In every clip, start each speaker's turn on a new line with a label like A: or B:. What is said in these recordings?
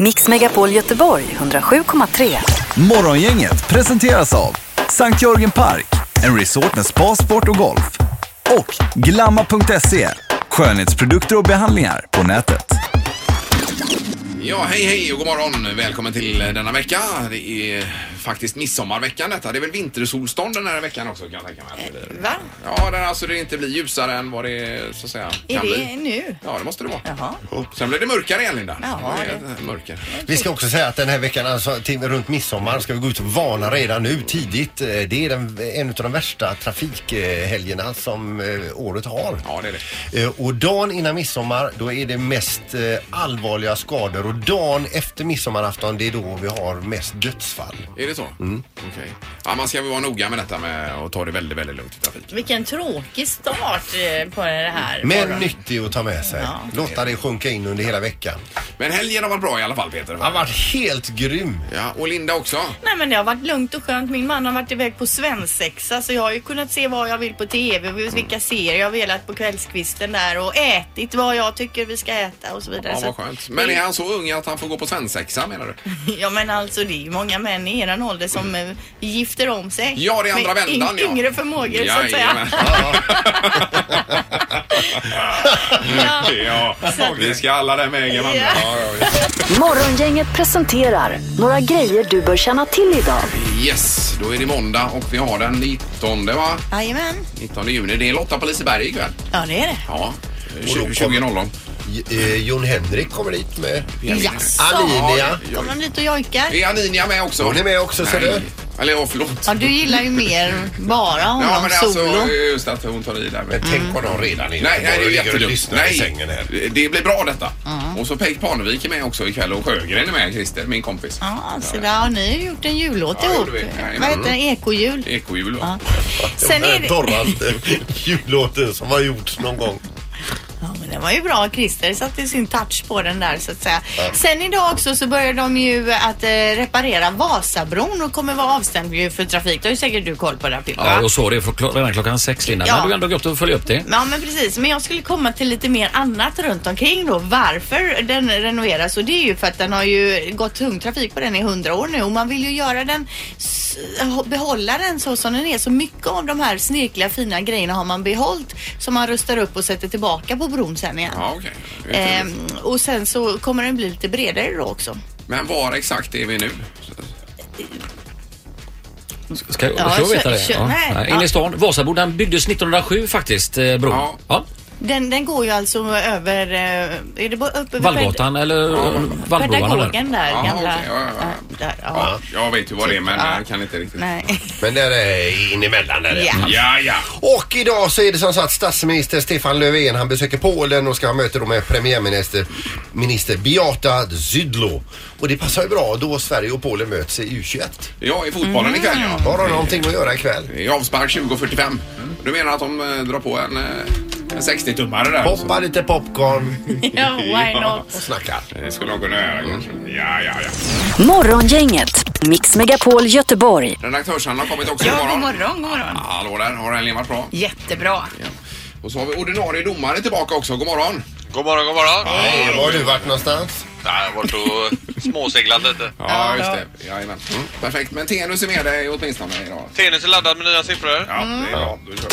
A: Mix Megapol Göteborg 107,3.
B: Morgongänget presenteras av Sankt Jörgen Park, en resort med spa, sport och golf. Och Glamma.se, skönhetsprodukter och behandlingar på nätet.
C: Ja, hej hej och god morgon. Välkommen till eh, denna vecka. Det är faktiskt midsommarveckan detta. Det är väl vintersolstånd den här veckan också kan jag tänka mig.
D: Eh, Va?
C: Ja, det, alltså det inte blir ljusare än vad det så att säga
D: Är
C: kan
D: det
C: bli.
D: nu?
C: Ja, det måste det vara. Oh,
D: Jaha.
C: Sen blir det mörkare igen Linda.
D: Ja,
C: det är mörker.
E: Vi ska också säga att den här veckan, alltså, till, runt midsommar, ska vi gå ut och varna redan nu tidigt. Eh, Det är den, en av de värsta trafikhelgerna som eh, året har.
C: Ja, det är det.
E: Eh, Och dagen innan midsommar, då är det mest eh, allvarliga skador och dagen efter midsommarafton, det är då vi har mest dödsfall.
C: Är det så? Mm. Okej. Ja, man ska väl vara noga med detta med att ta det väldigt, väldigt lugnt i trafiken.
D: Vilken tråkig start eh, på det här.
E: Men
D: morgonen.
E: nyttig att ta med sig.
D: Ja.
E: Låta det sjunka in under hela veckan.
C: Men helgen har varit bra i alla fall Peter.
E: Han var helt grym.
C: Ja, och Linda också.
D: Nej men det har varit lugnt och skönt. Min man har varit iväg på svensexa så jag har ju kunnat se vad jag vill på TV och vilka serier jag har velat på kvällskvisten där och ätit vad jag tycker vi ska äta och så vidare.
C: Ja,
D: Så
C: vad
D: att-
C: skönt. Men är han så ung att han får gå på svensexa menar du?
D: Ja men alltså det är ju många män i eran ålder som eh, gifter om sig.
C: Ja, det är andra
D: Med
C: vändan
D: y-
C: ja.
D: Yngre förmågor så att säga.
C: Jajamän. Ja, vi ska alla där med egen man.
D: Ja.
C: Ja, ja, ja.
A: Morgongänget presenterar några grejer du bör känna till idag.
C: Yes, då är det måndag och vi har den 19 va?
D: Jajamän.
C: 19 juni. Det är Lotta på Liseberg ikväll. Eh,
D: Ja det är det.
C: Ja,
E: då kommer-
C: 20.00.
E: J- eh, Jon Henrik kommer dit med
D: Jaså.
E: Alinia.
D: Kommer de dit och jojkar?
C: Är Aninia med också?
E: Hon är med också, ser
C: Nej.
E: du.
C: Eller ja, förlåt.
D: Ja, du gillar ju mer bara honom
C: Ja, men alltså
D: solo.
C: just att hon tar i där.
E: Men
C: med-
E: tänk på dem redan innan
C: Nej, nej, det
E: de
C: är ju
E: Mm. ligger och
C: jättedumt.
E: lyssnar i sängen här.
C: Nej, det blir bra detta.
D: Mm.
C: Och så Peg Parnevik är med också ikväll och Sjögren är med, Christer, min kompis.
D: Ja, så där har ni ju gjort en jullåt
C: Ja, det
D: ihop.
C: gjorde vi. mm. Jajamän.
D: Vad heter den? Ekojul?
C: Ekojul va?
D: Ja. Sen är
E: Den
D: det...
E: torraste jullåten eh, som har gjorts någon gång.
D: Ja, men den var ju bra. Christer satte sin touch på den där så att säga. Sen idag också så börjar de ju att eh, reparera Vasabron och kommer vara avstängd ju för trafik. Det har ju säkert du koll på det här Pippa.
F: Ja, jag såg det för klo- redan klockan sex, Linda.
D: Ja.
F: Men du har ändå gått och följt upp det.
D: Ja men precis, men jag skulle komma till lite mer annat runt omkring då. Varför den renoveras och det är ju för att den har ju gått tung trafik på den i hundra år nu och man vill ju göra den, s- behålla den så som den är. Så mycket av de här snirkliga fina grejerna har man behållit som man rustar upp och sätter tillbaka på bron sen igen.
C: Ja, okej. Det är trevligt.
D: Ehm, och sen så kommer den bli lite bredare då också.
C: Men var exakt är vi nu?
F: Ska
D: Ja,
F: ja, jag veta
D: kö-
F: det?
D: kö- nej.
F: Inne
D: Ja.
F: i stan. Vasabron, den byggdes 1907 faktiskt, eh, bron.
C: Ja.
F: Ja.
D: Den, den går ju alltså över, eh, är det bara uppe vid
F: Vallgatan eller ja. Vallbroarna där.
D: Pedagogen där,
C: Ja,
D: gamla.
C: okej, ja, ja, ja.
D: där, ja.
C: Ja, jag vet ju vad det är men
D: Ja.
C: jag kan inte riktigt.
D: Nej.
E: Men där är inemellan där.
D: Ja.
C: Ja, ja.
E: Och idag så är det som sagt statsminister Stefan Löfven han besöker Polen och ska ha möte då med premiärminister minister Beata Zydlo. Och det passar ju bra då Sverige och Polen möts i U21.
C: Ja, i
D: Mm.
C: fotbollen ikväll ja.
E: Har de någonting att göra ikväll?
C: Det är avspark 20.45. Du menar att de eh, drar på en, eh, en 60-tummare där?
E: Poppa lite popcorn
D: Ja, Oh, why not?
E: och snacka.
C: Det skulle de kunna göra kanske. Ja, ja, ja.
A: Morgongänget, Mix Megapol Göteborg.
C: Redaktörshanna har kommit också.
D: Ja, god morgon, god morgon.
C: Hallå där, har helgen varit bra?
D: Jättebra.
C: Ja. Och så har vi ordinarie domare tillbaka också. God morgon!
G: God morgon, god morgon.
E: Hej, var har du varit någonstans?
G: Nej, jag har varit och småseglat lite.
C: Ja, just det. Jajamän. Mm. Perfekt, men Tenus är med dig åtminstone idag.
G: Tenus är laddad med nya siffror.
C: Ja,
D: Mm.
C: det är bra. Då kör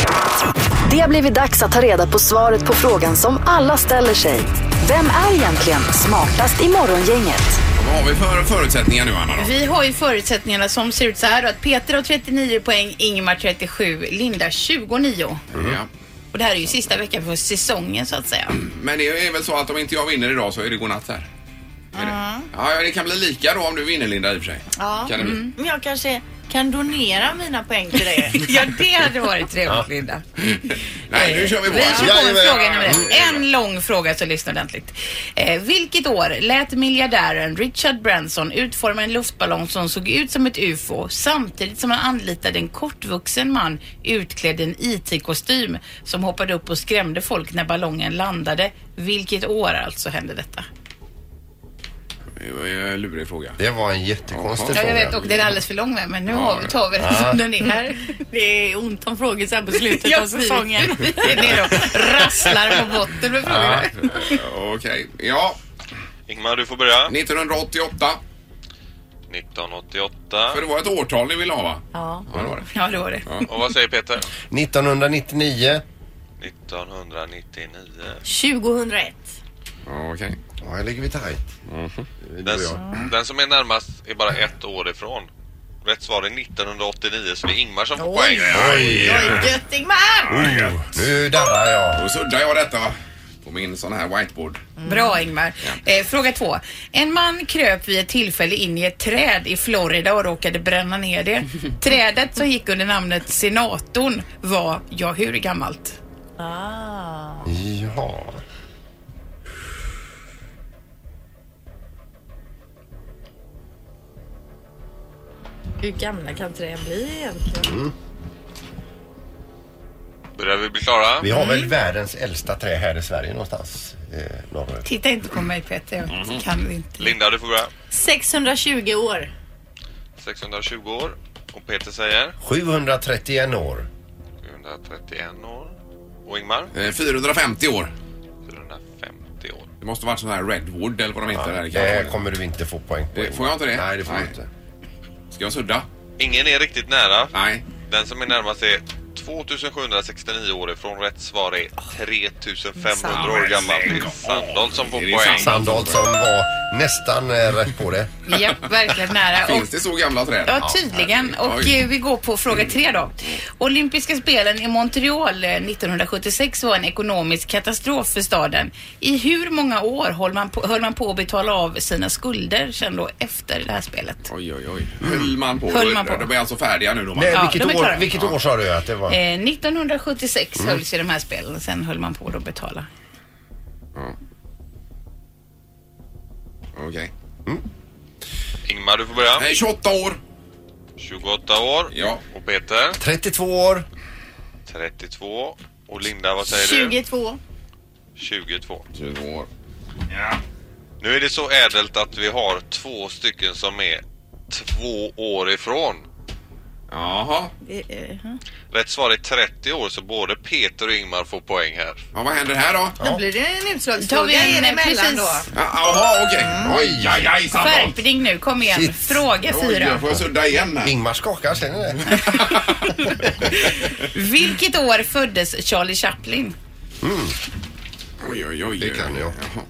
C: vi.
A: Det har blivit dags att ta reda på svaret på frågan som alla ställer sig. Vem är egentligen smartast i morgongänget?
C: Och Vad har vi för förutsättningar nu, Anna? Då?
H: Vi har ju förutsättningarna som ser ut så här då, att Peter har 39 poäng, Ingemar 37, Linda 29.
C: Ja.
H: Och det här är ju sista veckan för säsongen så att säga.
C: Men det är väl så att om inte jag vinner idag så är det godnatt här? Är det? Ja, det kan bli lika då om du vinner Linda i och för sig.
D: Ja. Mm.
C: Kan det bli.
D: Men jag kanske kan donera mina poäng till dig.
H: Ja, det hade varit trevligt Linda.
C: Nej, nu kör vi på. Mm.
H: Vi
C: alltså.
H: kör på med
E: Jajamän.
H: fråga nummer ett. En lång fråga så lyssna ordentligt. Eh, vilket år lät miljardären Richard Branson utforma en luftballong som såg ut som ett UFO samtidigt som han anlitade en kortvuxen man utklädd i en IT-kostym som hoppade upp och skrämde folk när ballongen landade. Vilket år alltså hände detta?
C: Det var ju en lurig fråga.
E: Det var en jättekonstig
H: Ja, jag vet
E: fråga.
H: och den är alldeles för lång med, men nu har vi- tar vi den som den är här.
D: Det är ont om frågor så här på slutet
H: Ja,
D: av säsongen.
H: Vi är nere och rasslar på botten med frågorna.
C: Eh, Okej, ja.
G: Ingmar, du får börja.
C: 1988.
G: 1988.
C: För det var ett årtal ni ville ha va?
D: Ja.
C: Ja, det var det.
H: Ja, det var det.
G: Och vad säger Peter?
E: 1999.
G: 1999.
D: 2001.
C: Ja, okej.
E: Ja, här ligger vi tajt. Du
G: Den,
E: och jag.
G: s- den som är närmast är bara ett år ifrån. Rätt svar är 1989 så det är Ingmar som får poäng.
E: Oj!
D: Oj, gött Ingmar!
E: Nu darrar jag.
C: Då suddar jag detta va? På min sån här whiteboard.
H: Bra Ingmar. Eh, fråga två. En man kröp vid ett tillfälle in i ett träd i Florida och råkade bränna ner det. Trädet som gick under namnet senatorn var, ja hur gammalt?
E: Ja.
D: Hur gamla kan träd bli egentligen?
G: Börjar vi bli klara?
E: Vi har väl världens äldsta trä här i Sverige någonstans. Eh, norrut.
H: Titta inte på mig Peter, jag kan inte.
G: Linda, du får börja.
D: 620 år.
G: 620 år. Och Peter säger
E: 731 år.
G: 731 år. Och Ingmar?
C: Eh, 450 år.
G: 450 år.
C: Det måste ha varit sån här Redwood eller vad de heter där i
E: Det
C: Kalifornien.
E: kommer du inte få poäng på.
C: Eh, får jag inte det?
E: Nej, det får du
C: Nej.
E: inte.
C: Ska jag sudda?
G: Ingen är riktigt nära.
C: Nej.
G: Den som är närmast är 2769 år ifrån. Rätt svar är 3500 år gammal. Det är Sandholt som får
C: Är det sant?
G: poäng.
E: Sandholt som var nästan eh, rätt på det.
H: Ja, verkligen
I: Äh,
H: nära. Och
C: Finns det så gamla träd?
H: Ja,
I: typ.
H: tydligen. Och
C: Oj. Mm.
H: eh, vi går på fråga tre då. Olympiska spelen i Montreal eh, 1976 var en ekonomisk katastrof för staden. I hur många år höll man på, höll man på att betala av sina skulder sen då efter det här spelet?
C: Oj, oj, oj. Höll man på.
H: Höll man
C: Då-
H: på.
C: De är alltså färdiga nu då. Man.
E: Nej,
H: Ja, de
E: vilket
H: är
E: år,
H: klara.
E: vilket år sa du att det var?
H: Eh, 1976
C: Mm.
H: hölls ju de här spelen, sen höll man på att betala.
C: Okej.
G: Ingmar, du får börja.
C: Nej, 28 år.
G: 28 år.
C: Ja.
G: Och Peter?
E: 32 år.
G: 32. Och Linda, vad säger
D: 22.
G: du? 22.
C: 22 år.
G: Nu är det så ädelt att vi har två stycken som är två år ifrån.
C: Jaha.
D: Det, eh,
G: Rätt svar är 30 år, så både Peter och Ingmar får poäng här.
C: Ja, vad händer här då?
D: Då blir det en
H: Tar vi
D: utslagsfråga
H: en eh,
D: emellan
H: precis
D: då.
C: Ja, Jaha, okej. Oj, aj, aj, Sandholt.
H: skärpning nu? Kom igen.
E: Shit.
H: Fråga
C: Oj,
H: fyra.
C: jag får jag sudda igen här.
E: Ingmar skakar, ser ni det?
H: Vilket år föddes Charlie Chaplin?
C: Oj, oj, oj.
E: Det kan jag.
C: Jaha.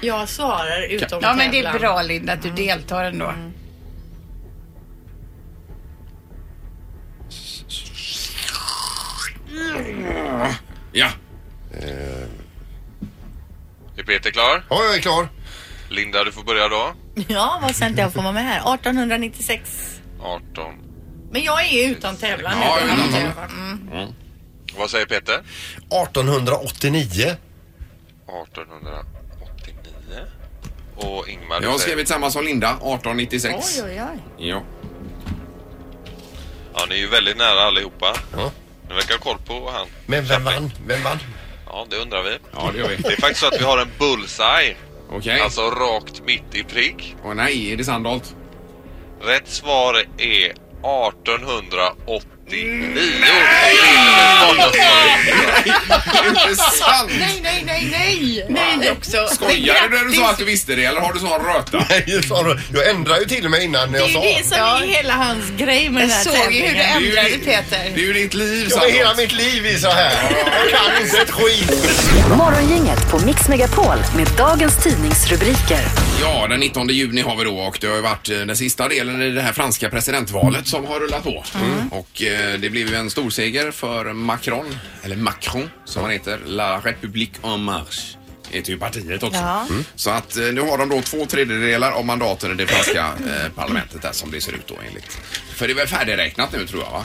D: Jag svarar utom
H: Ja, men det är
D: tävlan.
H: bra Linda att du
D: Mm.
H: deltar ändå.
C: Ja.
E: Eh,
G: Är Peter klar?
E: Ja, jag är klar.
G: Linda, du får börja då.
D: Ja, vad sent jag får vara med här. 1896.
G: 18.
D: Men jag är utom tävlan nu.
C: Ja,
D: då.
C: utan
D: Mm.
G: Vad säger Peter?
E: 1889.
G: 1889. Och Ingmar, du
C: Jag har
G: säger...
C: skrivit samma som Linda, 1896.
D: Oj, oj, oj.
C: Ja.
G: Ja, ni är ju väldigt nära allihopa.
E: Ja.
G: Ni verkar ha koll på han.
E: Men vem vann? Vem vann?
G: Ja, det undrar vi.
C: ja, det gör vi.
G: Det är
C: Okej.
G: faktiskt så att vi har en bullseye. Alltså rakt mitt i prick.
C: Åh, nej, är det Sandholt?
G: Rätt svar är 1889.
C: Det är inte sant!
D: Nej, nej, nej, nej! Nej också.
C: Skojar du när du sa att du visste det eller har du sån röta?
E: Nej, sa du. Jag ändrade ju till och med innan när
D: Det
E: jag sa.
D: är det som är hela hans grej med den
H: Jag
D: här
H: såg ju hur du
D: tävlingen.
C: Det är ju
H: ändrade
C: ditt- Det
H: Peter.
C: är ju ditt liv
E: Jag har hela mitt
C: Sandholt.
E: liv i så här. Jag kan inte ett skit.
A: Morgongänget på Mix Megapol med dagens tidningsrubriker.
C: Ja, den 19 juni har vi då och det har ju varit eh, den sista delen i det här franska presidentvalet som har rullat på. Och eh, det blev ju en storseger för Macron, eller Macron som han heter, La République en Marche. Heter ju partiet också.
D: Ja.
C: Så att eh, nu har de då två tredjedelar av mandaten i det franska eh, parlamentet där som det ser ut då enligt. För det är väl färdigräknat nu tror jag va?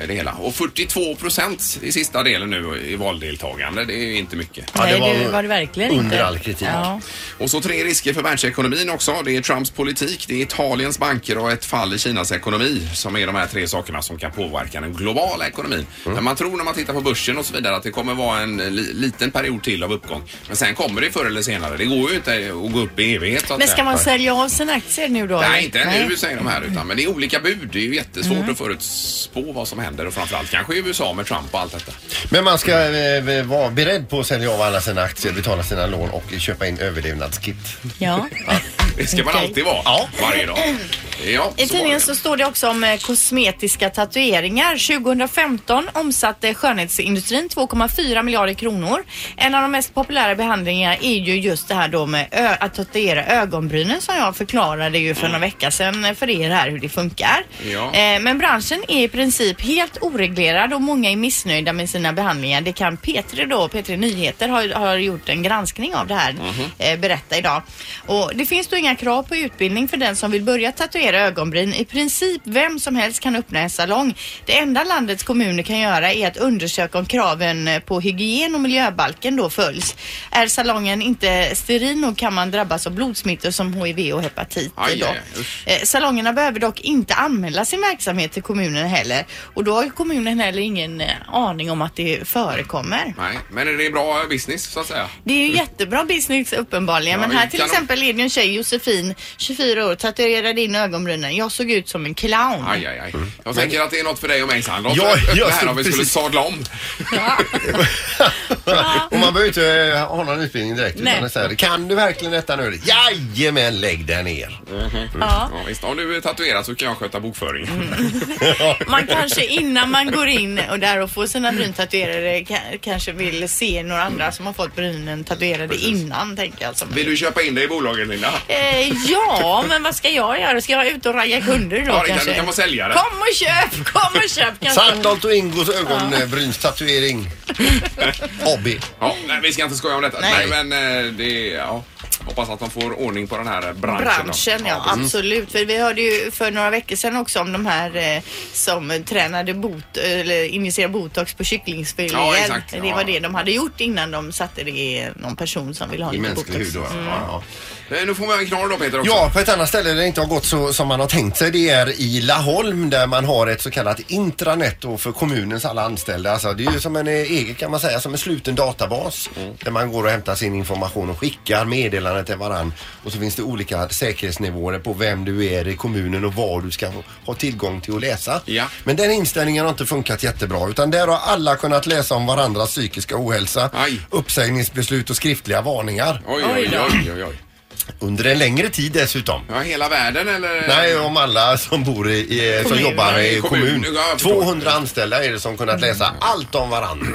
C: Eh, Det hela. Och 42 procent i sista delen nu i valdeltagande. Det är ju inte mycket.
E: det
D: Nej,
E: var
D: det var det verkligen
E: under
D: inte.
E: all kritik.
D: Ja.
C: Och så tre risker för världsekonomin också. Det är Trumps politik, det är Italiens banker och ett fall i Kinas ekonomi som är de här tre sakerna som kan påverka den globala ekonomin. Men man tror när man tittar på börsen och så vidare att det kommer vara en li- liten period till av uppgång. Men sen kommer det förr eller senare. Det går ju inte att gå upp i evighet. så att
D: Men
C: säga.
D: ska man sälja av sina aktier nu då? Mm.
C: Nej, inte nu säger de här utan men det är olika bud. Det är ju jättesvårt att förutspå vad som händer och framförallt kanske i USA med Trump och allt detta.
E: Men man ska eh, vara beredd på att sälja av alla sina aktier, betala sina lån och köpa in överlevnadskit.
D: Ja.
C: Det ska man
D: Okej.
C: alltid vara. Varje dag. Ja,
D: I
C: så var
D: tidningen
C: det.
D: så står det också om eh, kosmetiska tatueringar. 2015 omsatte skönhetsindustrin 2,4 miljarder kronor. En av de mest populära behandlingarna är ju just det här då med ö- att tatuera ögonbrynen som jag förklarade ju för
C: Mm.
D: några vecka sedan eh, för er här hur det funkar.
C: Ja.
D: Eh, Men branschen är i princip helt oreglerad och många är missnöjda med sina behandlingar. Det kan P3 då, P3 Nyheter har, har gjort en granskning av det här,
C: Mhm.
D: eh, berätta idag. Och det finns då inga krav på utbildning för den som vill börja tatuera ögonbryn. I princip vem som helst kan öppna en salong. Det enda landets kommuner kan göra är att undersöka om kraven eh, på hygien och miljöbalken då följs. Är salongen inte steril nog kan man drabbas av blodsmittor som HIV och hepatit.
C: Aj,
D: då.
C: aj, aj. Usch.
D: Eh, Salongerna behöver dock inte anmäla sin verksamhet till kommunen heller och då har ju kommunen heller ingen eh, aning om att det förekommer.
C: Nej, men är det bra business så att säga?
D: Det är ju jättebra business uppenbarligen
C: Ja,
D: men här
C: vi
D: till
C: kan-
D: exempel är det ju en tjej, Josefin, 24 år, tatuerade in ögonbrynen. Jag såg ut som en clown.
C: Aj, aj, aj.
D: Mm.
C: Jag tänker att det är något för dig och mig Sandra.
E: Ja,
C: Ja,
E: jag
C: här
E: såg
C: om vi skulle
E: precis-
C: sadla om.
E: och man behöver inte eh, ha någon utbildning direkt.
D: Nej.
E: Utan det är så här, kan du verkligen detta nu? Jajamän, lägg dig ner.
D: Ja.
C: Ja, visst. Om du är tatuerad så kan jag sköta bokföring.
D: Mm. Man kanske innan man går in och där och får sina bryn tatuerade ka- kanske vill se några andra som har fått brynen tatuerade innan tänker jag. alltså. Som
C: Vill du köpa in dig i bolagen Linda?
D: Eh, ja, men vad ska jag göra? Ska jag ut och ragga kunder då
C: Ja, det kan-
D: kanske?
C: du kan vara säljare.
D: Kom och köp, kom och köp kanske.
E: Sandholt och Ingos ögonbrynstatuering. AB.
C: Ja, nej, vi ska inte skoja om detta. Nej,
D: Nej.
C: men eh, det... Ja. Hoppas att de får ordning på den här eh, branschen. då.
D: Branschen, ja
C: precis.
D: absolut. För vi hörde ju för några veckor sedan också om de här eh, som eh, tränade bot, eller injicerade botox på kycklingfiléer.
C: Ja, exakt.
D: det
C: Ja.
D: var det de hade gjort innan de satte det i någon person som ville ha
E: I
D: lite
E: mänsklig
D: botox.
E: hud. då. Ja,
C: Eh, Nu får man en knorr då Peter också.
E: Ja, på ett annat ställe där det inte har gått så som man har tänkt sig det är i Laholm där man har ett så kallat intranät då för kommunens alla anställda. Alltså, det är ju som en eh, egen kan man säga, som en sluten databas
C: Mm.
E: där man går och hämtar sin information och skickar meddelanden till varann. Och så finns det olika säkerhetsnivåer på vem du är i kommunen och vad du ska ha tillgång till att läsa.
C: Ja.
E: Men den inställningen har inte funkat jättebra utan där har alla kunnat läsa om varandras psykiska ohälsa,
C: Aj.
E: uppsägningsbeslut och skriftliga varningar.
C: Oj, oj, oj, oj, oj.
E: Under en längre tid dessutom.
C: Ja, hela världen eller?
E: Nej, om alla som bor i, i som
D: Kommun.
E: jobbar i
C: Kommun.
E: kommun.
C: Ja, jag förstår.
E: 200 anställda är det som kunnat läsa allt om varandra.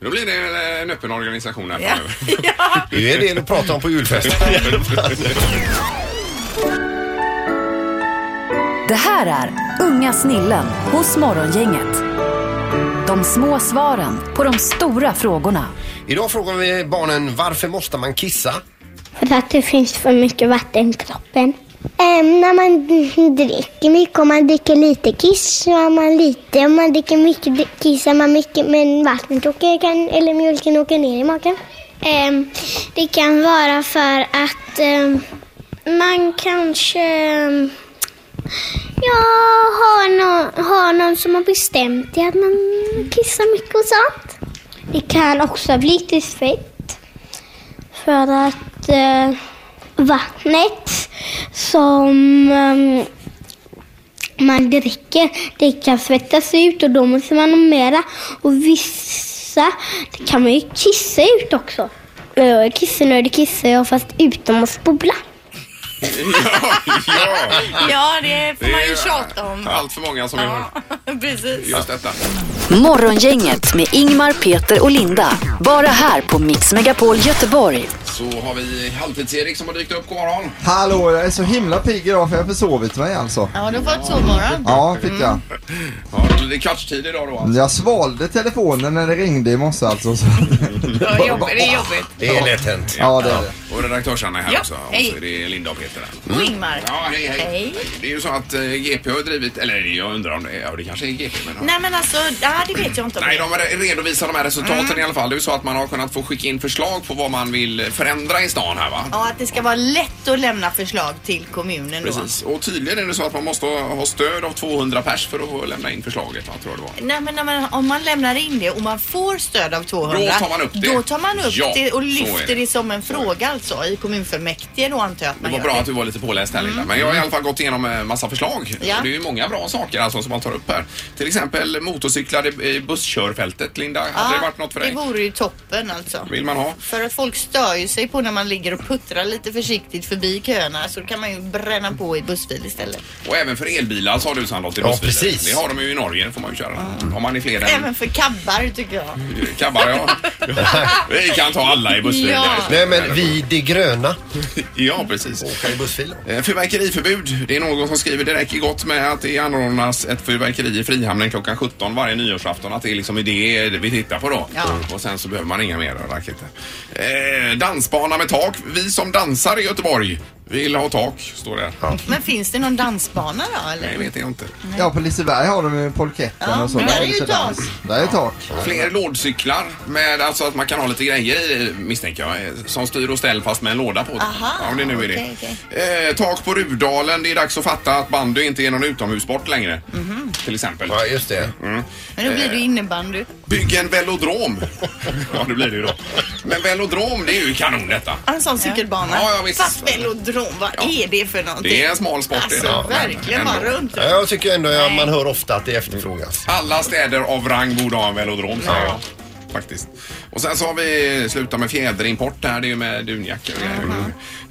C: Då blir det eh, en, en öppen organisation här
D: Ja.
C: framöver.
D: ja.
E: Det är det att prata om på julfesten.
A: Det här är Unga snillen hos Morgongänget. De små svaren på de stora frågorna.
E: Idag frågar vi barnen varför måste man kissa?
J: För att det finns för mycket vatten i kroppen. Ehm, när man dricker mycket, om man dricker lite kiss så har man lite. Om man dricker mycket dri- kiss har man mycket, men vattnet åker, kan, eller mjölken åker ner i magen. Ehm, det kan vara för att ehm, man kanske ja, har, har någon som har bestämt det att man kissar mycket och sånt. Det kan också bli lite fett. För att eh, vattnet som ehm, man dricker, det kan svettas ut och då måste man ha mera. Och vissa, det kan man ju kissa ut också. När jag är kissnödig kissar jag fast utom att spola.
C: ja,
D: ja, det får man
C: Det
D: ju
C: är-
D: tjata om.
C: allt för många som gör
D: Ja, precis.
C: just detta.
A: Morgongänget med Ingmar, Peter och Linda. Bara här på Mix Megapol Göteborg.
C: Så har vi Halvtids-Erik som har dykt upp. God morgon.
K: Hallå, jag är så himla pigg idag för jag har försovit mig alltså.
D: Ja, du har fått sovmorgon.
K: Ja, fick
E: Mm.
K: jag.
C: Ja, det är kvartstid idag då. alltså.
K: Jag svalde telefonen när det ringde i morse alltså. Så.
H: Ja, jobb- det är jobbigt.
E: Det är lätt hänt.
K: Ja, det är det.
C: Och redaktörs-Anna är här
H: Ja,
C: också. Och
H: hej.
C: så är det Linda och Peter här.
D: Och Ingmar.
C: Ja, hej, hej.
D: Hej.
C: Det är ju så att eh, GP har drivit, eller jag undrar om det är, ja det kanske är GP men...
D: Nej men alltså, ja, det vet jag inte om
C: Nej,
D: det.
C: de re- redovisar de här resultaten i alla fall. Det är ju så att man har kunnat få skicka in förslag på vad man vill förändra i stan här va?
D: Ja, att det ska vara lätt att lämna förslag till kommunen då.
C: Precis. Och tydligen är det så att man måste ha stöd av 200 pers för att få lämna in förslag. bolaget, va, tror jag det var.
D: Nej, men, nej, men om man lämnar in det och man får stöd av 200.
C: Då tar man upp det.
D: Då tar man upp
C: Ja,
D: det och
C: så är det.
D: lyfter det som en fråga alltså i kommunfullmäktige då antar jag att
C: Det
D: man
C: var
D: gör Mm.
C: bra att du var lite påläst här Linda. Men jag har i alla fall gått igenom eh, massa förslag.
D: Ja.
C: Och Det är ju många bra saker alltså, som man tar upp här. Till exempel motorcyklar i- i busskörfältet Linda. Hade det varit något för dig?
D: Det vore ju toppen alltså.
C: Vill man ha?
D: För att folk stör ju sig på när man ligger och puttrar lite försiktigt förbi köerna så då kan man ju bränna på i bussfil istället.
C: Och även för elbilar sa du Sandholt i
E: Ja,
C: bussbilar.
E: precis.
C: Det har de ju i Norge får man ju köra. Om man är fler än
D: Mm. Även för kabbar tycker jag.
C: kabbar ja. Vi kan ta alla i bussbilar.
D: Ja.
E: Nej men vi de gröna.
C: Ja, precis.
E: Åka i bussfilen.
C: Eh, Fyrverkeriförbud. Det är någon som skriver direkt i gott med att det anordnas ett fyrverkeri i Frihamnen klockan 17 varje nyårsafton. Att det är liksom det vi tittar på då. Och sen så behöver man inga mer raketer. Eh, dansbana med tak. Vi som dansar i Göteborg vill ha tak, står det. Ja.
D: Men finns det någon dansbana då eller?
C: Det vet jag inte.
K: Ja, på Liseberg har de ju polketten
D: Ja,
K: och så.
D: men där är ju
K: så dans. Där är tak.
C: Fler lådcyklar med alltså att man kan ha lite grejer i, misstänker jag, eh, som styr och ställ fast med en låda på.
D: Aha,
C: ja, om det nu är det.
D: okej,
C: Eh, tak på Rudalen. Det är dags att fatta att bandy inte är någon utomhussport längre.
D: Mhm.
C: Till exempel.
E: Ja just det.
D: Men då blir
C: Eh.
D: det ju innebandy.
C: Bygg en velodrom. ja, det blir det ju då. Men velodrom, det är ju kanon detta.
D: En sån cykelbana.
C: Ja, ja, visst.
D: Fast velodrom, vad är det för någonting?
C: Det är en smal sport.
D: Alltså
C: det. Ja, men
D: verkligen, bara
C: ändå.
D: runt.
E: Ja, Jag tycker ändå att man hör ofta att det efterfrågas.
C: Alla städer av rang borde ha en velodrom, säger jag. Faktiskt. Och sen så har vi slutat med fjäderimport här. Det är ju med dunjackor och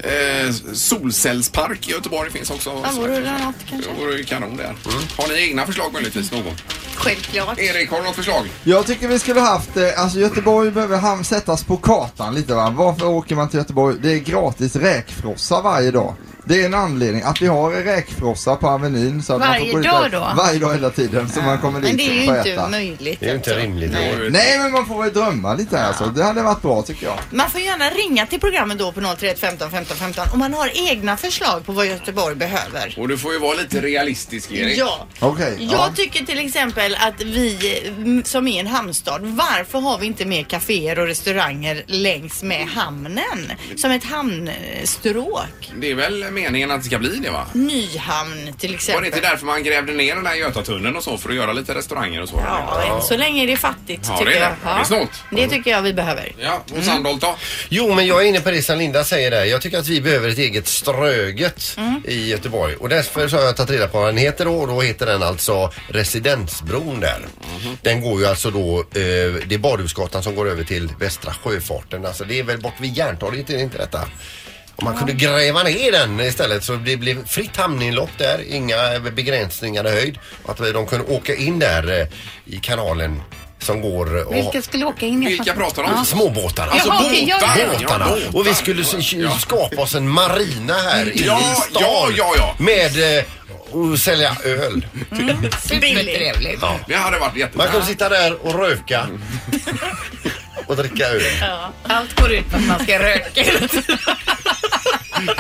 C: grejer. eh, Solcellspark i Göteborg finns också.
D: Ja, vore det något kanske?
C: Det vore ju kanon där. Har ni egna förslag möjligtvis någon?
D: Självklart.
C: Erik, har du något förslag?
K: Jag tycker vi skulle haft, eh, alltså Göteborg behöver ham- sättas på kartan lite va. Varför åker man till Göteborg? Det är gratis räkfrossa varje dag. Det är en anledning att vi har en räkfrossa på Avenyn. Så att man
H: Varje
K: får gå dit
H: dag
K: och-
H: då?
K: Varje dag hela tiden så man kommer dit
D: Men det är ju
K: och får
D: inte
K: äta.
D: möjligt.
E: Det är ju inte rimligt.
C: Eh,
K: Nej men man får väl drömma lite här alltså. Det hade varit bra tycker jag.
D: Man får gärna ringa till programmet då på 031 15 15 15 om man har egna förslag på vad Göteborg behöver.
C: Och du får ju vara lite realistisk, Erik.
D: Ja.
K: Okej.
D: Jag
K: ja.
D: tycker till exempel att vi mm, som är en hamnstad, varför har vi inte mer kaféer och restauranger längs med hamnen? Som ett hamnstråk.
C: Det är väl meningen att det ska bli det, va?
D: Nyhamn till
C: Var
D: exempel.
C: det inte därför man grävde ner den här Götatunneln och så för att göra lite restauranger och så?
D: Ja, än så länge är det fattigt
C: Ja,
D: tycker
C: det är det.
D: jag.
C: Det är snålt.
D: det tycker jag vi behöver.
C: Ja, och Sandholt då?
E: Jo, men jag är inne på det som Linda säger där. Jag tycker att vi behöver ett eget Ströget i Göteborg. Och därför så har jag tagit reda på vad den heter då. Och då heter den alltså Residensbron där. Den går ju alltså då, eh, det är Badhusgatan som går över till Västra Sjöfarten. Alltså det är väl bort vid Järntorget, är det inte detta? Om man kunde gräva ner den istället så det blev fritt hamninlopp där, inga begränsningar i höjd. Och att de kunde åka in där eh, i kanalen som går och
H: Vilka skulle åka in? Jag
C: Vilka
H: fattar-
C: pratar de om?
E: småbåtarna. Alltså,
H: Jaha, okej, jag-
E: Båtarna.
C: Ja, båtar.
E: Och vi skulle s-
C: Ja.
E: skapa oss en marina här inne i
C: Ja,
E: stan.
C: ja, ja, ja.
E: Med eh, och sälja öl.
H: Supertrevligt.
C: Det hade varit jättebra.
E: Man kunde sitta där och röka. och dricka öl.
H: Ja. Allt går ut på att man ska röka.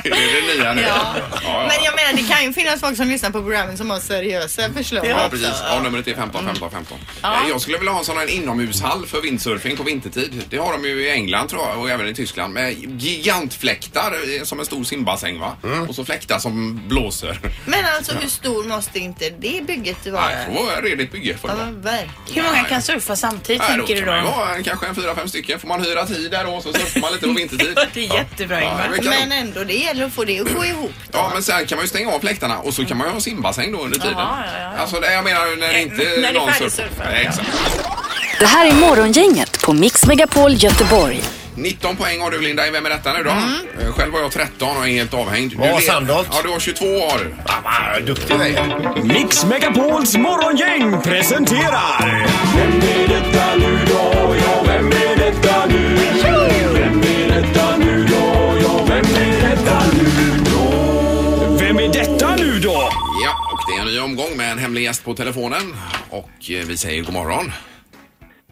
C: Det är det nya nu.
D: Ja.
C: Ja, ja.
D: Men jag menar det kan ju finnas folk som lyssnar på programmen som har seriösa förslag.
C: Ja, precis. Ja, numret är 15, 15, 15. Eh, Jag skulle vilja ha en sån här inomhushall för vindsurfing på vintertid. Det har de ju i England tror jag och även i Tyskland med gigantfläktar eh, som en stor simbassäng va? Och så fläktar som blåser.
D: Men alltså hur stor måste inte det bygget vara?
C: Nej, det får vara ett redigt bygge får det
D: Ja,
C: vara.
D: men
H: Hur
D: verkligen.
H: många kan surfa samtidigt
C: Nej, då
H: tänker du
C: kan man ju
H: då?
C: ha en- kanske en fyra, fem stycken. Får man hyra tid där då så surfar man lite på vintertid.
H: Ja, Det är jättebra
C: Ja,
H: Ingmar.
C: det är kanon.
D: Men ändå, det gäller att få det att gå ihop.
C: Ja, men sen kan man ju stänga av fläktarna och så kan man ju ha simbassäng då under tiden.
H: ja, ja, ja.
C: Alltså, det- jag menar när det inte
H: när det är
C: någon
H: färdigsurfat,
C: surfar. Nej, Exakt.
A: Det här är Morgongänget på Mix Megapol Göteborg.
C: 19 poäng har du Linda i Vem är detta nu då?
H: Mm.
C: Eh, Själv har jag 13 och är helt avhängd. Du
E: Vad har
C: led-
E: Sandholt?
C: Ja, du har 22 har du.
E: Ah, vad duktig du är.
L: Mix Megapols morgongäng presenterar... Vem är detta nu då? Ja, vem är detta nu? Vem är detta nu då? Ja, vem är detta nu då? Vem är detta nu då?
C: Ja, och det är en ny omgång med en hemlig gäst på telefonen. Och eh, vi säger god morgon.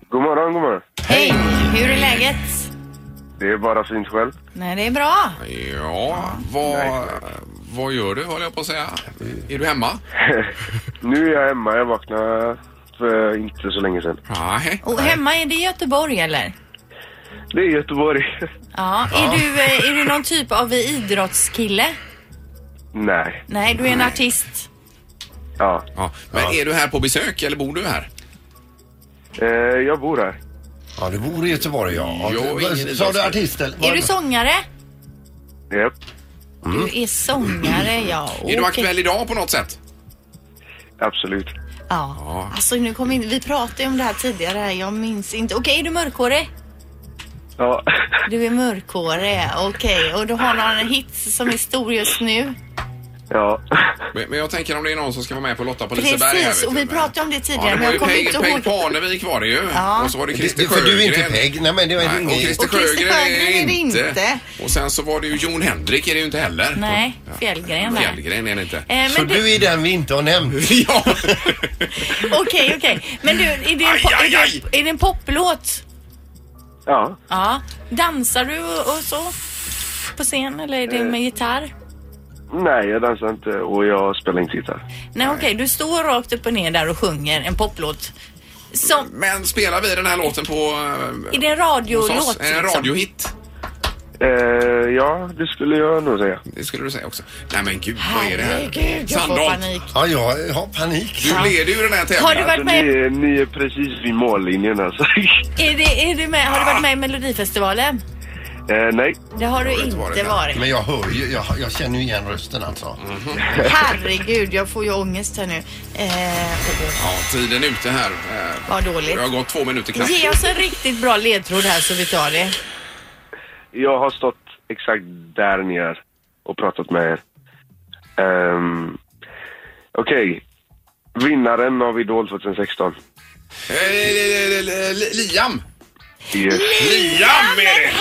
M: God morgon, god morgon.
D: Hej! Hur är läget?
M: Det är bara fint själv.
D: Nej, det är bra.
C: Ja, vad, vad gör du höll jag på att säga. Är du hemma?
M: Nu är jag hemma. Jag vaknade för inte så länge sedan.
C: Nej.
D: Och hemma, är det i Göteborg eller?
M: Det är Göteborg.
D: Ja. Är, du, eh, är du någon typ av idrottskille?
M: Nej.
D: Nej, du är en artist.
M: Ja.
C: Men är du här på besök eller bor du här?
M: Eh, jag bor här.
E: Ja, du bor i Göteborg ja.
C: Jo,
E: Vad-
C: ingen
E: Sa du
C: idrottsman.
E: artist eller?
D: Är du sångare?
M: Japp.
D: Du är sångare, ja.
C: Mm. Är du
D: Okej.
C: aktuell idag på något sätt?
M: Absolut.
D: Ja. Alltså, nu kom in, vi pratade ju om det här tidigare. här. Jag minns inte. Okej, är du mörkhårig?
M: Ja.
D: Du är mörkhårig, okej. Och du har någon hit som är stor just nu?
M: Ja.
C: Men, men jag tänker om det är någon som ska vara med på Lotta på Liseberg. här,
D: Precis,
C: vet
D: och
C: du.
D: vi pratade om det tidigare,
C: Ja, det
D: men
C: var
D: jag
C: ju
D: kommer
C: Peg,
D: inte
C: Peg
D: ihåg.
C: Parnevik var det ju.
D: Ja.
C: Och så var det
E: Det-
C: Christer
E: för
C: Sjögren.
E: du är inte Peg. Nej, men det var
C: Nej,
E: ingen-
C: och Christer
D: Och Christer
C: Sjögren är
D: Sjögren
C: det
D: är det
C: inte.
D: inte.
C: Och sen så var det ju Jon Henrik är det ju inte heller.
D: Nej, Fjällgren där.
C: Fjällgren är det inte.
D: Eh, men
E: Så
D: du-
E: du är den vi inte har nämnt?
C: Ja!
D: Okej, okej. Men du, är det en, po-
C: Aj, aj, aj!
D: Är det, är det en poplåt?
M: Ja.
D: Ja. Dansar du och, och så? På scen eller är det
C: Eh.
D: med gitarr?
M: Nej, jag dansar inte och jag spelar inte gitarr.
D: Nej, okej. Du står rakt upp och ner där och sjunger en poplåt. Som,
C: Men spelar vi den här låten på...
D: är det en
C: eh, hos
D: radiolåt?
C: oss? En
D: liksom?
C: radiohit.
M: Eh, ja, det skulle jag nog säga.
C: Det skulle du säga också. Nej men gud, vad är det här?
D: Herregud, jag får
C: Sandholt,
D: panik.
E: Ja, jag har panik.
C: du leder ju den här
D: Har du
C: tävlingen.
D: varit
M: Alltså, ni,
D: med,
M: är, ni är precis vid mållinjen alltså.
D: är det, är det med, har du varit med i Melodifestivalen?
M: eh, nej.
D: Det har du
C: har inte
D: inte
C: varit med.
D: varit.
E: Men jag hör ju, jag, jag känner ju igen rösten alltså.
C: Mm.
D: Herregud, jag får ju ångest här nu. Eh,
C: Ja, tiden är ute här. Eh,
D: vad dåligt.
C: Det har gått två minuter knappt.
D: Ge oss en riktigt bra ledtråd här så vi tar det.
M: Jag har stått exakt där ni är och pratat med er. Ehm, Okej. Vinnaren av Idol 2016.
C: Eh, eh, eh, eh, Liam!
M: Yes.
C: Liam är det!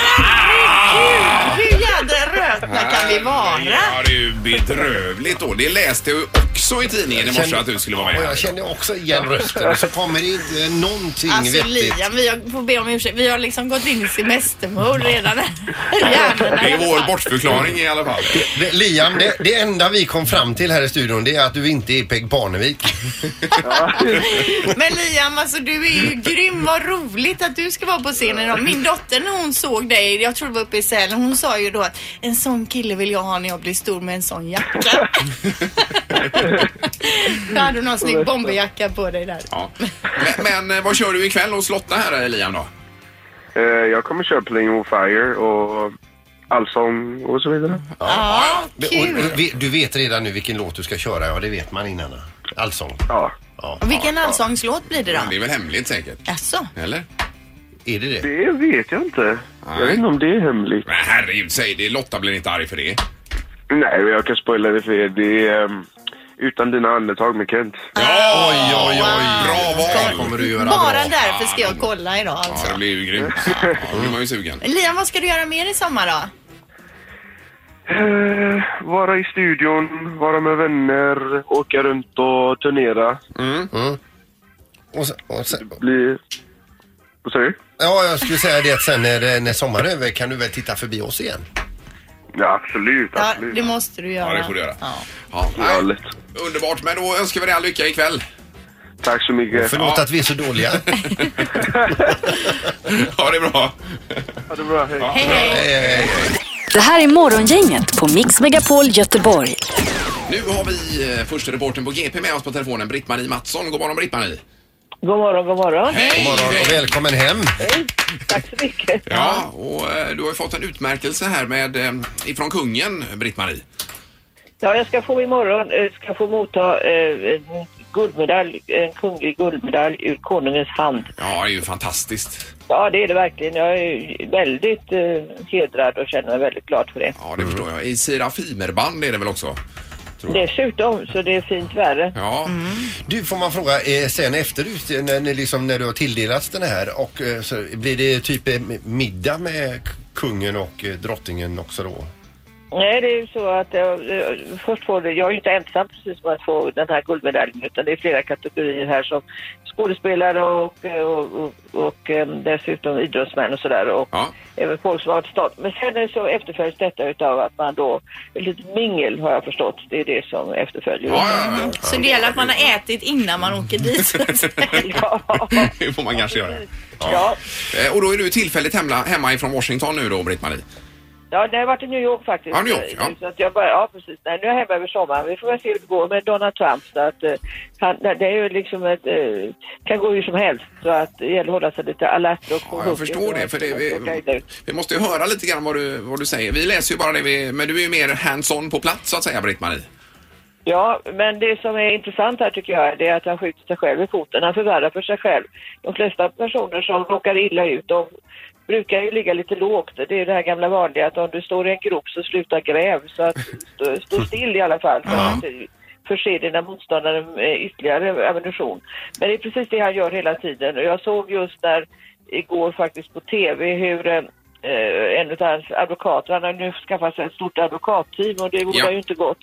D: Hur jädra rötna kan vi vara?
C: Ja, det är ju bedrövligt då. Det läste jag ju också i tidningen i morse att du skulle vara
E: Och
C: med.
E: jag känner också igen rösten. Och så kommer det inte någonting
D: Alltså
E: vettigt.
D: Liam, vi har, får be om ursäkt. Vi har liksom gått in i semestermode redan. Hjärnorna
C: Det är
D: i alla
C: vår
D: fall.
C: bortförklaring i alla fall.
E: Det, Liam, det, det enda vi kom fram till här i studion det är att du inte är Peg Parnevik.
D: Men Liam, alltså du är ju grym. Vad roligt att du ska vara på scenen idag. Min dotter när hon såg dig, jag tror det var uppe i Sälen, hon sa ju då att en sån kille vill jag ha när jag blir stor med en sån jacka. Då hade du någon snygg bomberjacka på dig där.
C: Ja. Men, men eh, vad kör du ikväll hos Lotta här Liam då?
M: Eh, jag kommer köra Playing on Fire och allsång och så vidare.
D: Ja,
E: Och,
D: kul.
E: och, vi- du vet redan nu vilken låt du ska köra. Ja, det vet man innan. Alltså, Allsång.
M: Ja,
E: Ja.
D: Vilken allsångslåt blir det då?
C: Det är väl hemligt säkert?
D: Jaså?
C: Eller?
E: Är det det?
M: det vet jag inte.
C: Nej.
M: Jag vet inte om det är hemligt.
C: Men herregud, säg det. Lotta blir inte arg för det.
D: Ah.
M: Nej, men jag kan spoila det för er. Det är ehm, Utan dina andetag med Kent.
C: Ja!
E: Oj, oj, oj.
C: Bra
E: Det
C: val!
E: kommer du göra
D: Bara
E: bra.
D: därför ska jag kolla idag
C: Ja, det
D: alltså.
C: blir ju grymt. Ja, då blir man ju sugen.
D: Liam, vad ska du göra mer i sommar då?
M: Eh, vara i studion, vara med vänner, åka runt och turnera.
E: Och sen, och sen,
M: Bli... Vad säger du?
E: ja, jag skulle säga det att sen när, när sommaren är över kan du väl titta förbi oss igen.
M: Ja, absolut.
D: Ja,
M: absolut.
D: det måste du göra.
C: Ja, det får du göra.
D: Ja.
C: Ja,
M: Ja,
C: nej,
M: lätt.
C: underbart, men då önskar vi dig all lycka ikväll.
M: Tack så mycket.
E: Förlåt att vi är så dåliga.
C: Ha det bra.
M: Ha det bra. Hej.
D: Hej, hej.
E: Eh,
A: Det här är Morgongänget på Mix Megapol Göteborg.
C: Nu har vi eh, första reporten på GP med oss på telefonen, Britt-Marie Mattsson. God morgon Britt-Marie.
I: God morgon, god morgon.
E: God morgon och välkommen hem.
I: Hej. Tack så mycket.
C: Ja, och eh, du har ju fått en utmärkelse här med, eh, ifrån kungen, Britt-Marie.
I: Ja, jag ska få imorgon, eh, ska få motta eh, en guldmedalj, en kunglig guldmedalj ur konungens hand.
C: Ja, det är ju fantastiskt.
I: Ja, det är det verkligen. Jag är väldigt eh, hedrad och känner mig väldigt glad för det.
C: Ja, det förstår jag. I serafimerband är det väl också?
I: Dessutom, så det är fint värre.
C: Ja,
E: Du, får man fråga, eh, sen efterut eh, när, när, liksom, när du har tilldelats den här och eh, så blir det typ eh, middag med k- kungen och eh, drottningen också då?
I: Nej, det är ju så att jag, eh, först får det, jag är ju inte ensam precis med att få den här guldmedaljen utan det är flera kategorier här som skådespelare och, eh, och, och, och eh, dessutom idrottsmän och sådär och
C: Ja.
I: även folk som har ett start. Men sen är det så efterföljs detta utav att man då, lite mingel har jag förstått, det är det som efterföljer.
C: ja, ja, ja.
D: Så det gäller att man har ätit innan man åker dit. så att säga.
I: ja.
C: det får man kanske göra.
I: ja.
C: Eh, Och då är du tillfälligt hemma, hemma ifrån Washington nu då, Britt-Marie?
I: Ja, det har varit i New York faktiskt.
C: Ja, New York, ja.
I: Så att jag bara, ja, precis. Nej, nu är jag hemma över sommaren. Vi får väl se hur det går med Donald Trump. Så att, eh, han, det är ju liksom ett, eh, kan gå hur som helst. Så att det gäller att hålla sig lite alert och på
C: Ja,
I: hugget.
C: jag förstår det. För det
I: Okej,
C: vi, vi måste ju höra lite grann vad du, vad du säger. Vi läser ju bara det vi... Men du är ju mer hands-on på plats så att säga, Britt-Marie.
I: Ja, men det som är intressant här tycker jag det är att han skjuter sig själv i foten. Han förvärrar för sig själv. De flesta personer som råkar illa ut de brukar ju ligga lite lågt. Det är ju det här gamla vanliga att om du står i en grop så sluta gräv. Så att stå, stå still i alla fall. För att eh, förse dina motståndare med ytterligare ammunition. Men det är precis det han gör hela tiden. Och jag såg just där igår faktiskt på TV hur eh, eh, en av hans advokater, han har nu skaffat sig ett stort advokatteam och det vore
N: Ja.
I: ju inte gott.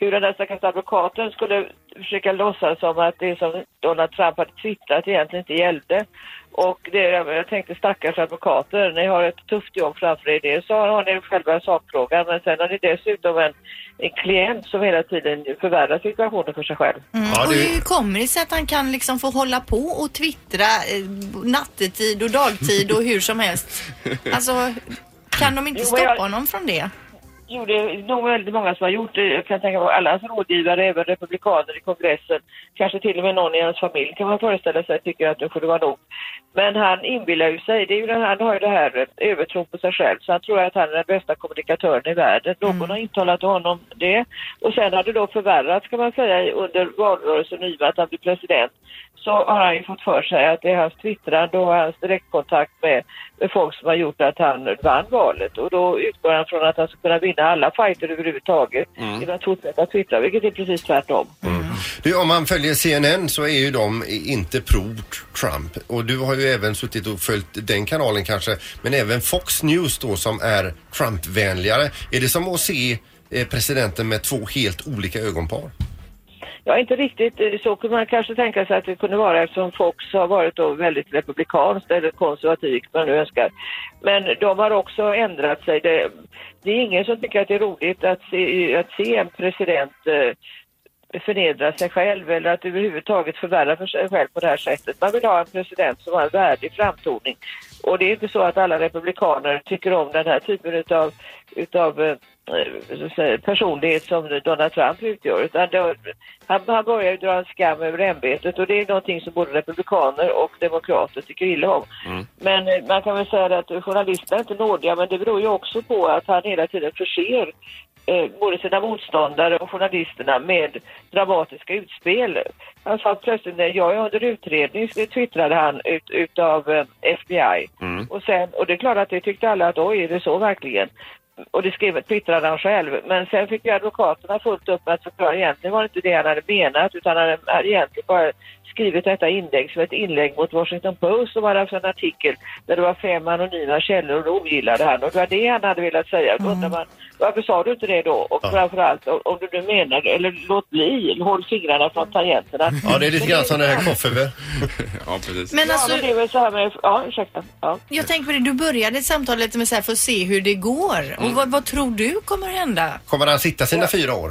I: Hur den där stackars advokaten skulle försöka låtsas som att det som Donald Trump hade twittrat egentligen inte gällde. Och det, jag tänkte stackars advokater, ni har ett tufft jobb framför er. Dels så har ni själva sakfrågan men sen har ni dessutom en, en klient som hela tiden förvärrar situationen för sig själv.
E: Ja,
D: Mm. Och
E: det-
D: hur kommer det sig att han kan liksom få hålla på och twittra eh, nattetid och dagtid och hur som helst? Alltså, kan de inte
I: Jo, men
D: stoppa
I: jag-
D: honom från det?
I: Jo, det är nog väldigt många som har gjort det. Jag kan tänka mig alla hans rådgivare, även republikaner i kongressen. Kanske till och med någon i hans familj kan man föreställa sig tycker att nu får det vara nog. Men han inbillar ju sig. Det är ju den, han har ju det här eh, övertron på sig själv. Så han tror att han är den bästa kommunikatören i världen. Någon har intalat honom det. Och sen har det då förvärrats kan man säga i- under valrörelsen i och med att han blir president. Så har han ju fått för sig att det är hans twittrande och hans direktkontakt med, med folk som har gjort att han vann valet. Och då utgår han från att han ska kunna vinna alla fighter överhuvudtaget
E: Mm.
I: genom att fortsätta twittra, vilket är precis tvärtom.
E: Du, om man följer CNN så är ju de eh, inte pro-Trump och du har ju även suttit och följt den kanalen kanske men även Fox News då som är Trump-vänligare. Är det som att se eh, presidenten med två helt olika ögonpar?
I: Ja, inte riktigt eh, så kunde man kanske tänka sig att det kunde vara eftersom Fox har varit då väldigt republikanskt eller konservativt, man nu önskar. Men de har också ändrat sig. Det, det är ingen som tycker att det är roligt att se, att se en president eh, förnedra sig själv eller att överhuvudtaget förvärra för sig själv på det här sättet. Man vill ha en president som har en värdig framtoning. Och det är inte så att alla republikaner tycker om den här typen utav, utav eh, så att säga, personlighet som Donald Trump utgör. Utan det, han, han börjar ju dra en skam över ämbetet och det är någonting som både republikaner och demokrater tycker illa om. Men eh, man kan väl säga att journalister är inte nådiga men det beror ju också på att han hela tiden förser eh, både sina motståndare och journalisterna med dramatiska utspel. Han sa plötsligt att jag är under utredning, så det twittrade han ut, utav eh, FBI. Och, sen, och det är klart att det tyckte alla att oj, är det så verkligen? Och det skrev, twittrade han själv. Men sen fick ju advokaterna fullt upp med att förklara egentligen var det inte det han hade menat utan han hade- hade egentligen bara skrivit detta inlägg som ett inlägg mot Washington Post som hade haft en artikel där det var fem anonyma källor och det ogillade han och det var det han hade velat säga. Då undrar man varför sa du inte det då? Och framförallt om, om du nu menar det, eller låt bli, håll fingrarna från tangenterna.
E: Ja, det är lite grann som det här Kofferve.
C: ja, precis.
D: Men alltså-
I: Ja, men det är väl så här med... Ja, ursäkta. Ja.
D: Jag tänker på det, du började samtalet med så här för att se hur det går.
C: Mm.
D: Och vad, vad tror du kommer hända?
E: Kommer han sitta sina fyra år?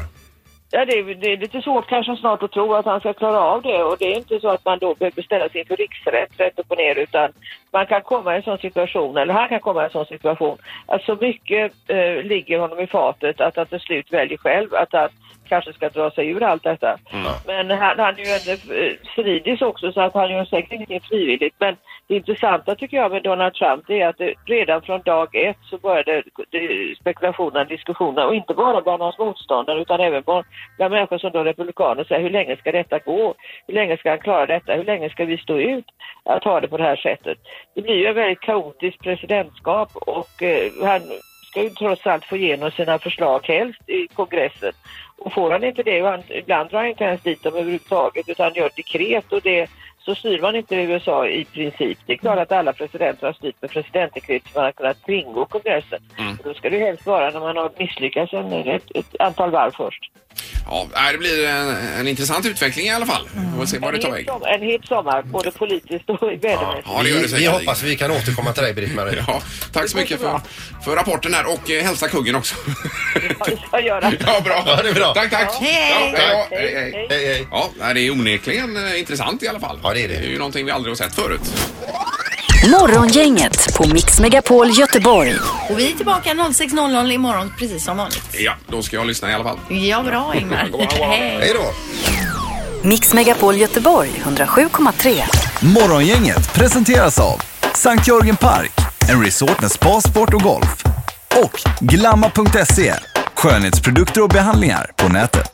I: Ja, det, är- det är lite svårt kanske snart att tro att han ska klara av det och det är inte så att man då behöver ställa sig inför riksrätt rätt upp och ner utan man kan komma i en sån situation, eller han kan komma i en sån situation, att så mycket eh, ligger honom i fatet att han till slut väljer själv att han kanske ska dra sig ur allt detta.
E: Mm.
I: Men han, han är ju ändå eh, stridis också så att han gör säkert ingenting frivilligt. Men det intressanta tycker jag med Donald Trump det är att det, redan från dag ett så började det- spekulationerna, diskussionerna och inte bara bland hans motståndare utan även bland, bland människor som då är republikaner säger hur länge ska detta gå? Hur länge ska han klara detta? Hur länge ska vi stå ut att ha det på det här sättet? Det blir ju en väldigt kaotisk presidentskap och eh, han ska ju trots allt få igenom sina förslag helst i kongressen. Och får han inte det, och han, ibland drar han inte ens dit dem överhuvudtaget utan gör dekret och det så styr man inte i USA i princip. Det är klart att alla presidenter har styrt med presidentdekret som man har kunnat kringgå kongressen.
C: Mm.
I: Och Då ska det ju helst vara när man har misslyckats en, ett, ett antal varv först.
C: Ja, nej, det blir en, en intressant utveckling i alla fall. Vi får se var det
I: En
C: tar
I: het
C: vägen.
I: sommar- En het sommar, både politiskt och vädermässigt.
C: Ja, det gör det
E: Vi- vi hoppas
C: vi kan återkomma till dig, Britt-Marie. Ja, tack så mycket för, för rapporten här och eh, hälsa kungen också.
I: Jag gör det.
C: Ja, bra.
E: Ja, det är bra.
C: Tack, tack.
E: Ja. Hej.
C: Ja, ja,
E: Tack.
C: hej, hej.
E: Hej, hej.
C: Ja, nej, det är onekligen eh, intressant i alla fall. Ja, det är det. Det är ju någonting vi aldrig har sett förut.
A: Morgongänget på Mix Megapol Göteborg.
D: Och vi är tillbaka 06.00 imorgon precis som vanligt.
C: Ja, då ska jag lyssna i alla fall.
D: Ja, bra Ingmar. Hej.
C: då!
A: Mix Megapol Göteborg 107,3.
B: Morgongänget presenteras av Sankt Jörgen Park, en resort med spa, sport och golf. Och Glamma.se, E, skönhetsprodukter och behandlingar på nätet.